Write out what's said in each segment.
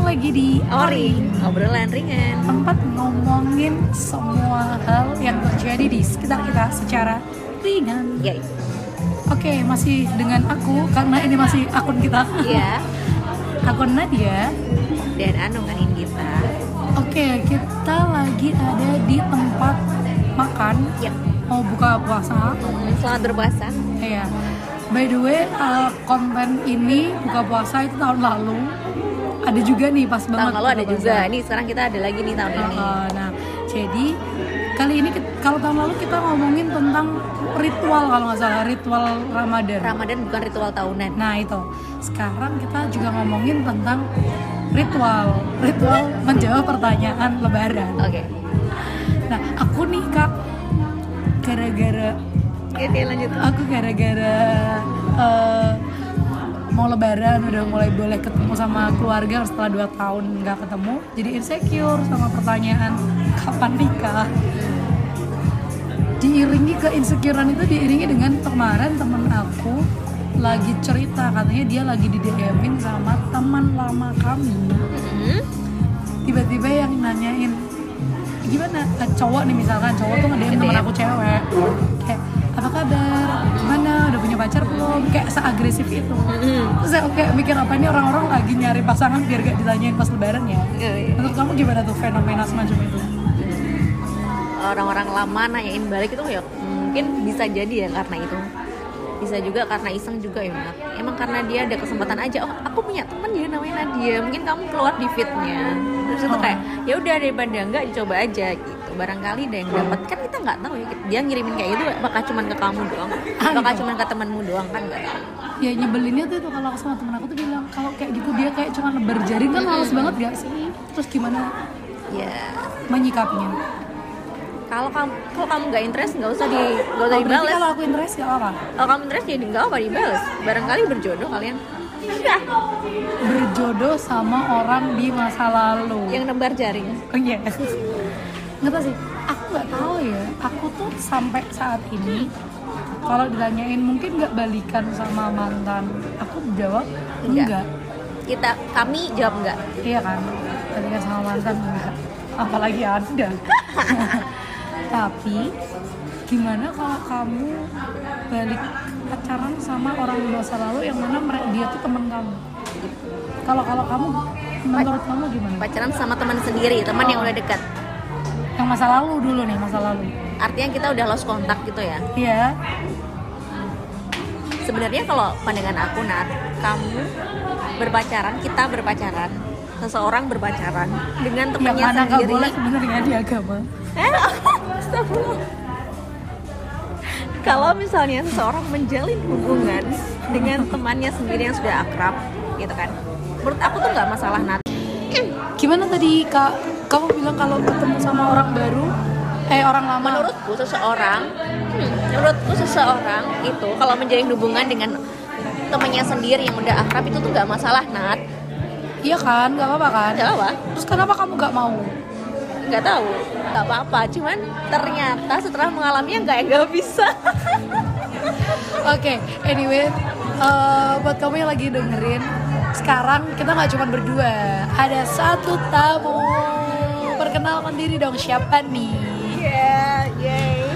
lagi di Ori, obrolan ringan. tempat ngomongin semua hal yang terjadi di sekitar kita secara ringan. Ya, Oke, masih dengan aku karena ini masih akun kita. iya. Akun Nadia. Dan Anu kan kita. Oke, kita lagi ada di tempat makan Ya, mau buka puasa. selamat berpuasa. Iya. By the way, uh, konten ini buka puasa itu tahun lalu. Ada juga nih pas banget. Tahun lalu ada buka puasa. juga. Nih sekarang kita ada lagi nih tahun ini. Uh, nah, jadi kali ini kit- kalau tahun lalu kita ngomongin tentang ritual kalau nggak salah ritual Ramadan. Ramadan bukan ritual tahunan. Nah itu sekarang kita juga ngomongin tentang ritual ritual menjawab pertanyaan Lebaran. Oke. Nah aku nih kak gara-gara Oke, oke, lanjut. aku gara-gara eh, mau Lebaran udah mulai boleh ketemu sama keluarga setelah 2 tahun nggak ketemu jadi insecure sama pertanyaan kapan nikah diiringi keinsecurean itu diiringi dengan kemarin temen aku lagi cerita katanya dia lagi di DM-in sama teman lama kami Hmm, Mm-hmm. tiba-tiba yang nanyain gimana Eh, cowok nih misalkan cowok tuh nge-DM temen Nge-DM. aku cewek kayak apa kabar gimana udah punya pacar belum kayak seagresif itu hmm. terus aku kayak mikir apa ini orang-orang lagi nyari pasangan biar gak ditanyain pas lebaran ya Oh, iya. menurut kamu gimana tuh fenomena semacam itu Orang-orang lama nanyain balik itu ya mungkin bisa jadi ya karena itu bisa juga karena iseng juga ya Mak. emang karena dia ada kesempatan aja oh aku punya temen dia namanya Nadia mungkin kamu keluar di fitnya terus itu Oh. kayak ya udah daripada enggak coba aja gitu barangkali ada yang dapat kan kita nggak tahu ya dia ngirimin kayak gitu bakal cuman ke kamu doang Ah, bakal gitu. cuman ke temanmu doang kan nggak tahu ya nyebelinnya tuh itu kalau aku sama temen aku tuh bilang kalau kayak gitu dia kayak cuma berjaring kan halus banget gak sih terus gimana ya Iya. menyikapinya kalau kamu kalau kamu nggak interest nggak usah di nggak usah oh, berarti dibales kalau aku interest gak apa kalau kamu interest jadi nggak apa dibales barangkali berjodoh kalian udah berjodoh sama orang di masa lalu yang nebar jaring Oh iya. Nggak tahu sih. Aku nggak tahu ya. Aku tuh sampai saat ini kalau ditanyain mungkin nggak balikan sama mantan, aku jawab Nggak. enggak. kita kami jawab enggak Iya kan? Balikan sama mantan enggak. Apalagi Anda. Tapi gimana kalau kamu balik pacaran sama orang di masa lalu yang mana mere- dia tuh temen kamu? Kalau kalau kamu menurut kamu gimana? pacaran sama teman sendiri teman yang udah dekat Yang masa lalu dulu nih, masa lalu. artinya kita udah lost kontak gitu ya Iya. sebenarnya kalau pandangan aku Nat kamu berpacaran kita berpacaran seseorang berpacaran dengan yang temannya mana nggak sendiri boleh sebenarnya di agama Eh, astagfirullah. kalau misalnya seseorang menjalin hubungan dengan temannya sendiri yang sudah akrab gitu kan menurut aku tuh nggak masalah Nat gimana tadi kak kamu bilang kalau ketemu sama orang baru eh orang lama menurutku seseorang hmm, menurutku seseorang itu kalau menjalin hubungan dengan temannya sendiri yang udah akrab itu tuh nggak masalah Nat iya kan nggak apa-apa kan nggak apa terus kenapa kamu nggak mau nggak tahu nggak apa-apa cuman ternyata setelah mengalaminya nggak nggak bisa oke anyway eh, buat kamu yang lagi dengerin sekarang kita nggak cuma berdua ada satu tamu perkenalkan diri dong siapa nih ya yay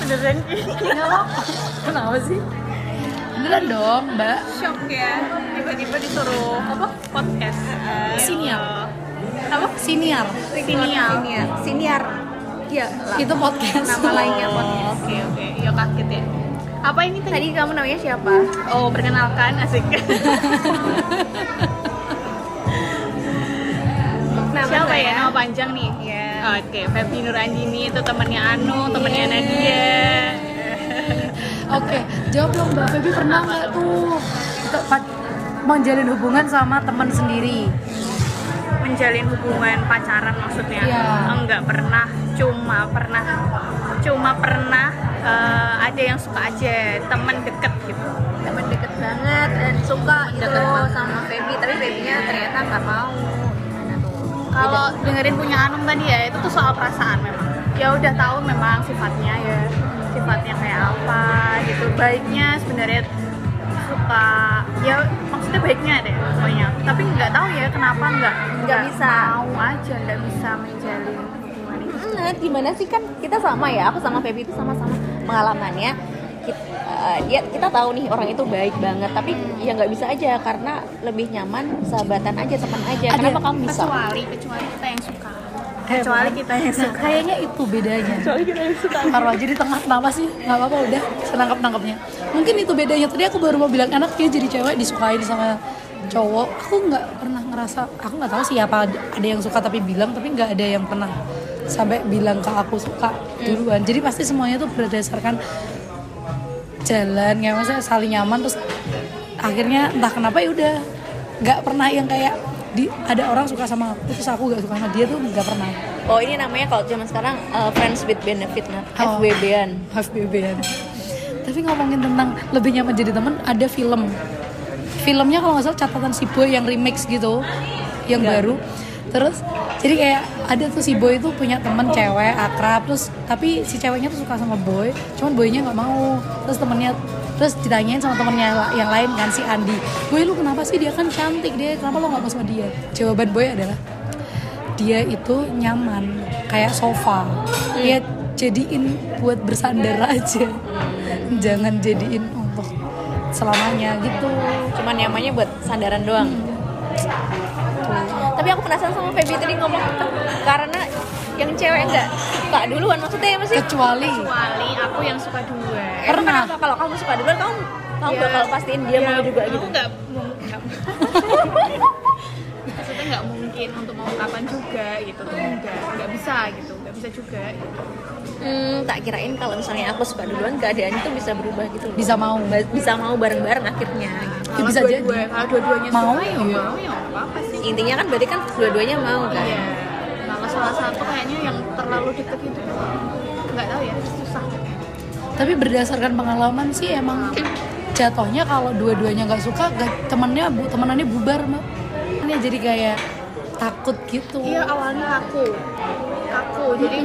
beneran kenapa sih beneran dong mbak shock ya tiba-tiba disuruh apa podcast Eh, senior apa senior siniar siniar siniar ya itu podcast nama lainnya podcast Oh, Oke oke, ya kaget ya. Apa ini tadi? tadi kamu namanya siapa Oh perkenalkan asik. Nama Siapa saya? ya? Nama panjang nih. Iya. Oke, Febri Nur Andini itu temannya Anu, temannya Nadia. Oke, jawab dong Mbak Feby pernah nggak tuh te- pa- menjalin hubungan sama teman sendiri? Menjalin hubungan pacaran maksudnya? Iya. Enggak pernah, cuma pernah, cuma pernah eh, ada yang suka aja teman deket gitu. teman deket banget dan suka gitu loh sama Feby tapi Febynya ternyata nggak mau Gimana tuh? Kalau dengerin punya Anum tadi ya, itu tuh soal perasaan memang. Ya udah tahu memang sifatnya ya, sifatnya kayak apa gitu. Baiknya sebenarnya suka ya maksudnya baiknya deh pokoknya tapi nggak tahu ya kenapa nggak Nggak bisa. mau aja nggak bisa menjalin hubungan itu Nah, gimana sih kan kita sama ya aku sama Feby itu sama-sama pengalamannya kita, dia kita tahu nih orang itu baik banget tapi ya nggak bisa aja karena lebih nyaman sahabatan aja teman aja Ada kenapa kamu bisa kecuali kecuali kita yang suka Eh, kecuali bukan. kita yang Nah, suka kayaknya itu bedanya. kecuali kita yang suka Taruh aja di tengah kenapa sih? Gak apa-apa udah, senangkap nangkapnya. Mungkin itu bedanya. Tadi aku baru mau bilang anak dia jadi cewek disukain sama cowok. Aku nggak pernah ngerasa, aku nggak tahu sih apa ada ada yang suka tapi bilang, tapi nggak ada yang pernah sampai bilang ke aku suka duluan. Jadi pasti semuanya tuh berdasarkan jalan, kayak maksudnya saling nyaman terus akhirnya entah kenapa ya udah nggak pernah yang kayak di, ada orang suka sama aku terus aku gak suka sama dia tuh nggak pernah oh ini namanya kalau zaman sekarang eh, friends with benefit nah Oh. FWB-an FBB-an. Tapi ngomongin tentang lebih nyaman jadi teman, ada film. Filmnya kalau nggak salah catatan si Boy yang remix gitu, yang baru. Terus jadi kayak ada tuh si Boy itu punya teman cewek akrab, terus tapi si ceweknya tuh suka sama Boy, cuman Boynya nggak mau. Terus temennya terus ditanyain sama temennya la- yang lain kan si Andi, Boy lu kenapa sih dia kan cantik dia, kenapa lo nggak mau sama dia? Jawaban Boy adalah dia itu nyaman kayak sofa Hmm. dia jadiin buat bersandar aja Hmm. jangan jadiin untuk selamanya gitu cuman nyamannya buat sandaran doang Hmm. tapi aku penasaran sama Feby tadi ngomong karena yang cewek nggak suka duluan maksudnya apa sih kecuali kecuali aku yang suka dua Emang Pernah. Iya. kenapa kalau kamu suka duluan kamu kamu Ya, bakal pastiin dia ya, mau juga gitu aku nggak mau nggak maksudnya nggak mungkin untuk mau kapan juga gitu tuh nggak nggak bisa gitu nggak bisa juga gitu. hmm, tak kirain kalau misalnya aku suka duluan keadaan itu bisa berubah gitu loh. Bisa mau. Ba- bisa mau bareng-bareng akhirnya gitu. Ya, bisa dua-dua- jadi. kalau dua-duanya Mau, suka ya iya. mau ya nggak apa-apa sih intinya kan berarti kan dua-duanya mau kan iya kalau salah satu kayaknya yang terlalu deket itu nggak tahu ya susah tapi berdasarkan pengalaman sih emang jatuhnya kalau dua-duanya nggak suka gak, temannya bu temanannya bubar mah ini jadi kayak takut gitu iya awalnya aku aku jadi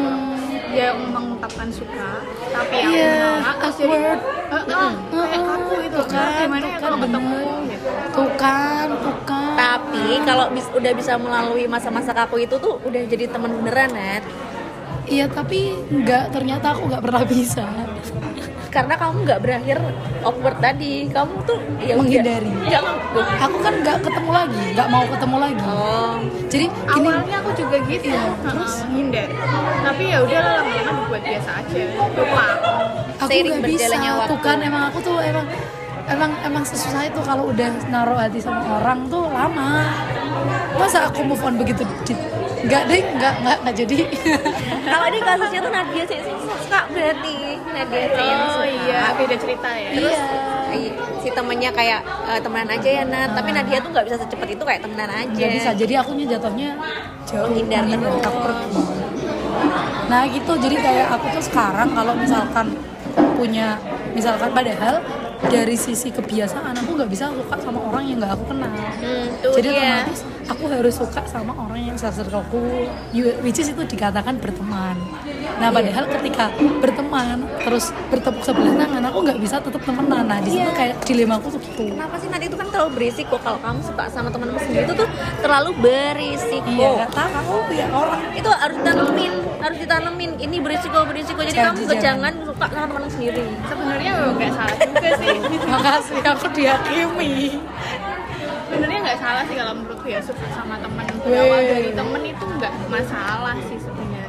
dia mengungkapkan suka tapi aku Iya, nolak terus jadi awkward. "Eh, Hmm. eh, kayak kaku itu kan gimana ya kalau ketemu gitu tuh kan tuh kan tapi kalau bis- udah bisa melalui masa-masa kaku itu tuh udah jadi teman beneran Nat iya tapi nggak ternyata aku nggak pernah bisa karena kamu nggak berakhir awkward tadi kamu tuh ya udah. Menghindari. Nggak mau. aku kan nggak ketemu lagi nggak mau ketemu lagi oh jadi ini awalnya aku juga gitu Iya, terus hindar tapi ya udahlah lama-lama dibuat biasa aja lupa aku seiring nggak bisa berjalannya waktu. tuh kan emang aku tuh emang emang emang sesusah itu kalau udah naruh hati sama orang tuh lama masa aku move on begitu di- nggak deh nggak nggak nggak jadi kalau ini kasusnya tuh Nadia sih yang suka berarti Nadia sih yang oh suka iya beda cerita ya iya Iya, si temennya kayak eh, temenan aja ya Nat tapi Nadia tuh nggak bisa secepat itu kayak temenan aja nggak bisa jadi akunya jatuhnya Iya. jauh Menghindar gitu. terus. takut. nah gitu jadi kayak aku tuh sekarang kalau misalkan punya misalkan padahal dari sisi kebiasaan aku nggak bisa suka sama orang yang nggak aku kenal Hmm, tuh Jadi dia. otomatis aku harus suka sama orang yang circleku, which is itu dikatakan berteman. Nah padahal ketika berteman terus bertepuk sebelah tangan, aku nggak bisa tetap temenan. Nah di situ Iya. kayak dilema aku tuh gitu. Kenapa sih Nadia itu kan terlalu berisiko kalau kamu suka sama teman sendiri itu tuh terlalu berisiko. Iya, nggak tahu aku ya orang. Itu harus ditanemin, harus ditanemin. Ini berisiko berisiko. Jadi Jangan, kamu nggak jangan jangan. suka sama teman sendiri. sebenarnya nggak salah juga sih Makasih aku dihakimi. sebenarnya nggak salah sih kalau menurutku ya suka sama temen berawal Weh. dari temen itu nggak masalah sih sebenarnya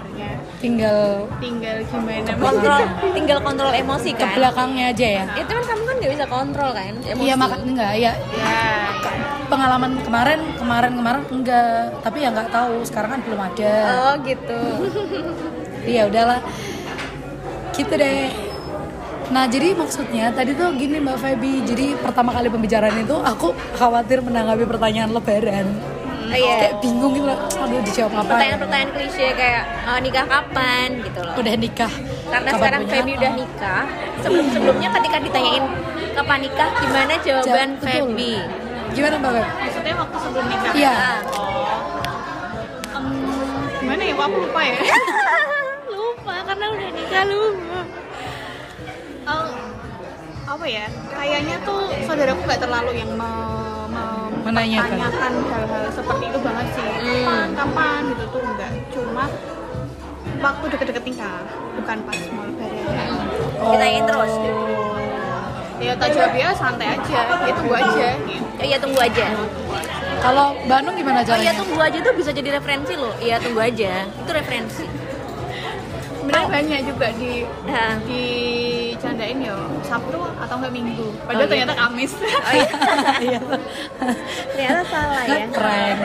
Tinggal tinggal gimana Kontrol, tinggal kontrol emosi ke kan. belakangnya aja ya. Gitu. Itu kan kamu kan nggak bisa kontrol kan emosi. Iya makanya enggak ya ya pengalaman kemarin kemarin kemarin enggak tapi ya nggak tahu sekarang kan belum ada. Oh gitu. Iya udahlah Gitu deh Nah jadi maksudnya tadi tuh gini Mbak Feby Jadi pertama kali pembicaraan itu aku khawatir menanggapi pertanyaan lebaran Oh, iya. Kayak bingung gitu loh Aduh dijawab apa Pertanyaan-pertanyaan klise kayak "Eh, nikah kapan gitu loh. Udah nikah Karena Kapan sekarang punya Feby anak? udah nikah. Sebelum-sebelumnya ketika ditanyain kapan nikah, gimana jawaban Jawab, betul. Feby? Gimana Mbak Feby? Nah, maksudnya waktu sebelum nikah Iya Ah. Em, gimana ya Wah, aku lupa ya lupa karena udah nikah lu Eh, apa apa ya kayaknya tuh saudaraku nggak terlalu yang me- me- Menanyakan. mempertanyakan hal-hal seperti itu banget sih Hmm. kapan kapan gitu tuh enggak cuma waktu deket-deket nikah bukan pas mau lebaran Ditanyain terus. Oh. ya tak jawab ya santai aja ya tunggu aja gitu. Oh iya tunggu aja. Kalau Bandung Oh gimana iya caranya? tunggu aja tuh bisa jadi referensi loh. Iya tunggu aja. Itu referensi. sebenarnya banyak juga di Nah. di candain yo sabtu atau enggak minggu Oh, padahal iya. ternyata kamis Oh iya. Iya. Ternyata salah ya. Keren.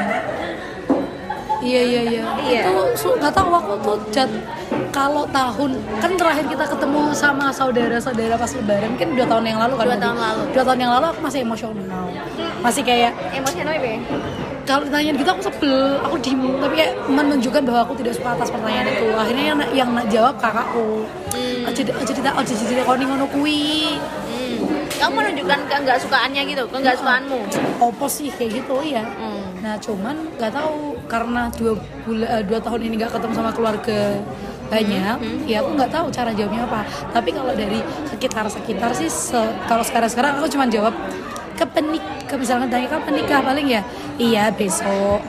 Iya iya iya. Iya. Itu su- nggak tahu aku tuh cat kalau tahun kan terakhir kita ketemu sama saudara-saudara pas lebaran kan dua tahun yang lalu kan Dua Budi? tahun lalu. dua tahun yang lalu aku masih emosional masih kayak Emosional ya? kalau ditanya gitu aku sebel aku diem tapi kayak menunjukkan bahwa aku tidak suka atas pertanyaan itu akhirnya yang yang nak jawab kakakku aja aja cerita aja cerita kau nih ngono kui Hmm. Kamu menunjukkan ke nggak sukaannya gitu, ke nggak sukaanmu. opo sih kayak gitu ya Hmm. nah cuman nggak tahu karena dua bula- eh, dua tahun ini nggak ketemu sama keluarga banyak ya aku nggak tahu cara jawabnya apa tapi kalau dari sekitar sekitar sih se- kalau sekarang sekarang aku cuma jawab kepenik ke misalnya tanya kapan nikah paling ya iya besok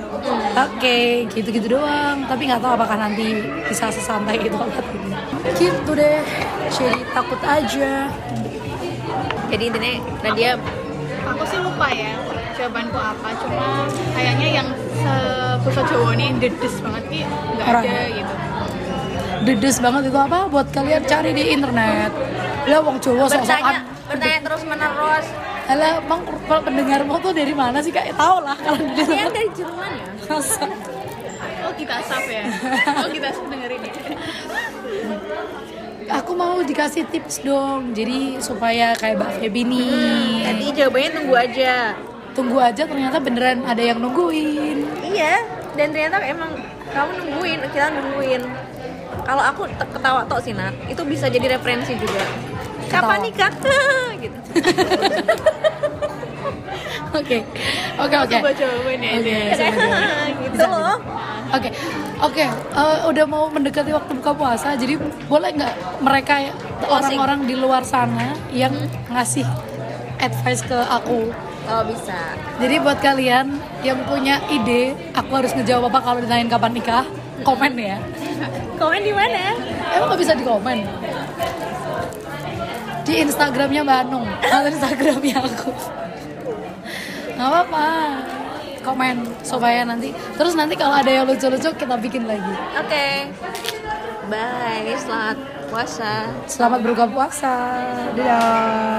oke gitu gitu doang tapi nggak tahu apakah nanti bisa sesantai itu apa tidak gitu deh jadi takut aja Jadi intinya nah, Nadia aku sih lupa ya jawabanku apa cuma kayaknya yang sebesar Jawa nih dedes banget nih nggak Orang. ada gitu dedes banget itu apa buat kalian cari di internet lah wong Jawa bertanya, sosokan bertanya terus menerus. Alah, emang kurva pendengarmu tuh dari mana sih kak? Tahu lah kalau di Kalian dari Jerman ya? masa. oh kita asap ya oh kita asap dengerin ya Aku mau dikasih tips dong, jadi supaya kayak Mbak Feby nih. Jadi jawabannya tunggu aja. Tunggu aja ternyata beneran ada yang nungguin. Iya. Dan ternyata emang kamu nungguin, kita nungguin. Kalau aku te- ketawa tok sih Nat, itu bisa jadi referensi juga. Ketawa. Kapan nikah? gitu. Oke, oke, oke. coba jawaban ya Oke, Iya gitu loh. Oke, oke. eh, udah mau mendekati waktu buka puasa, jadi boleh nggak mereka ya, Closing. orang-orang di luar sana yang ngasih advice ke aku? Oh bisa. Jadi buat kalian yang punya ide, aku harus ngejawab apa kalau ditanyain kapan nikah? Komen ya. Komen di mana? Emang nggak bisa dikomen? Di Instagramnya Mbak Anung atau Instagramnya aku. Gak apa-apa. Komen supaya nanti. Terus nanti kalau ada yang lucu-lucu kita bikin lagi. Oke. Bye. Selamat puasa. Selamat berbuka puasa. Dadah.